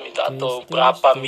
minta atau berapa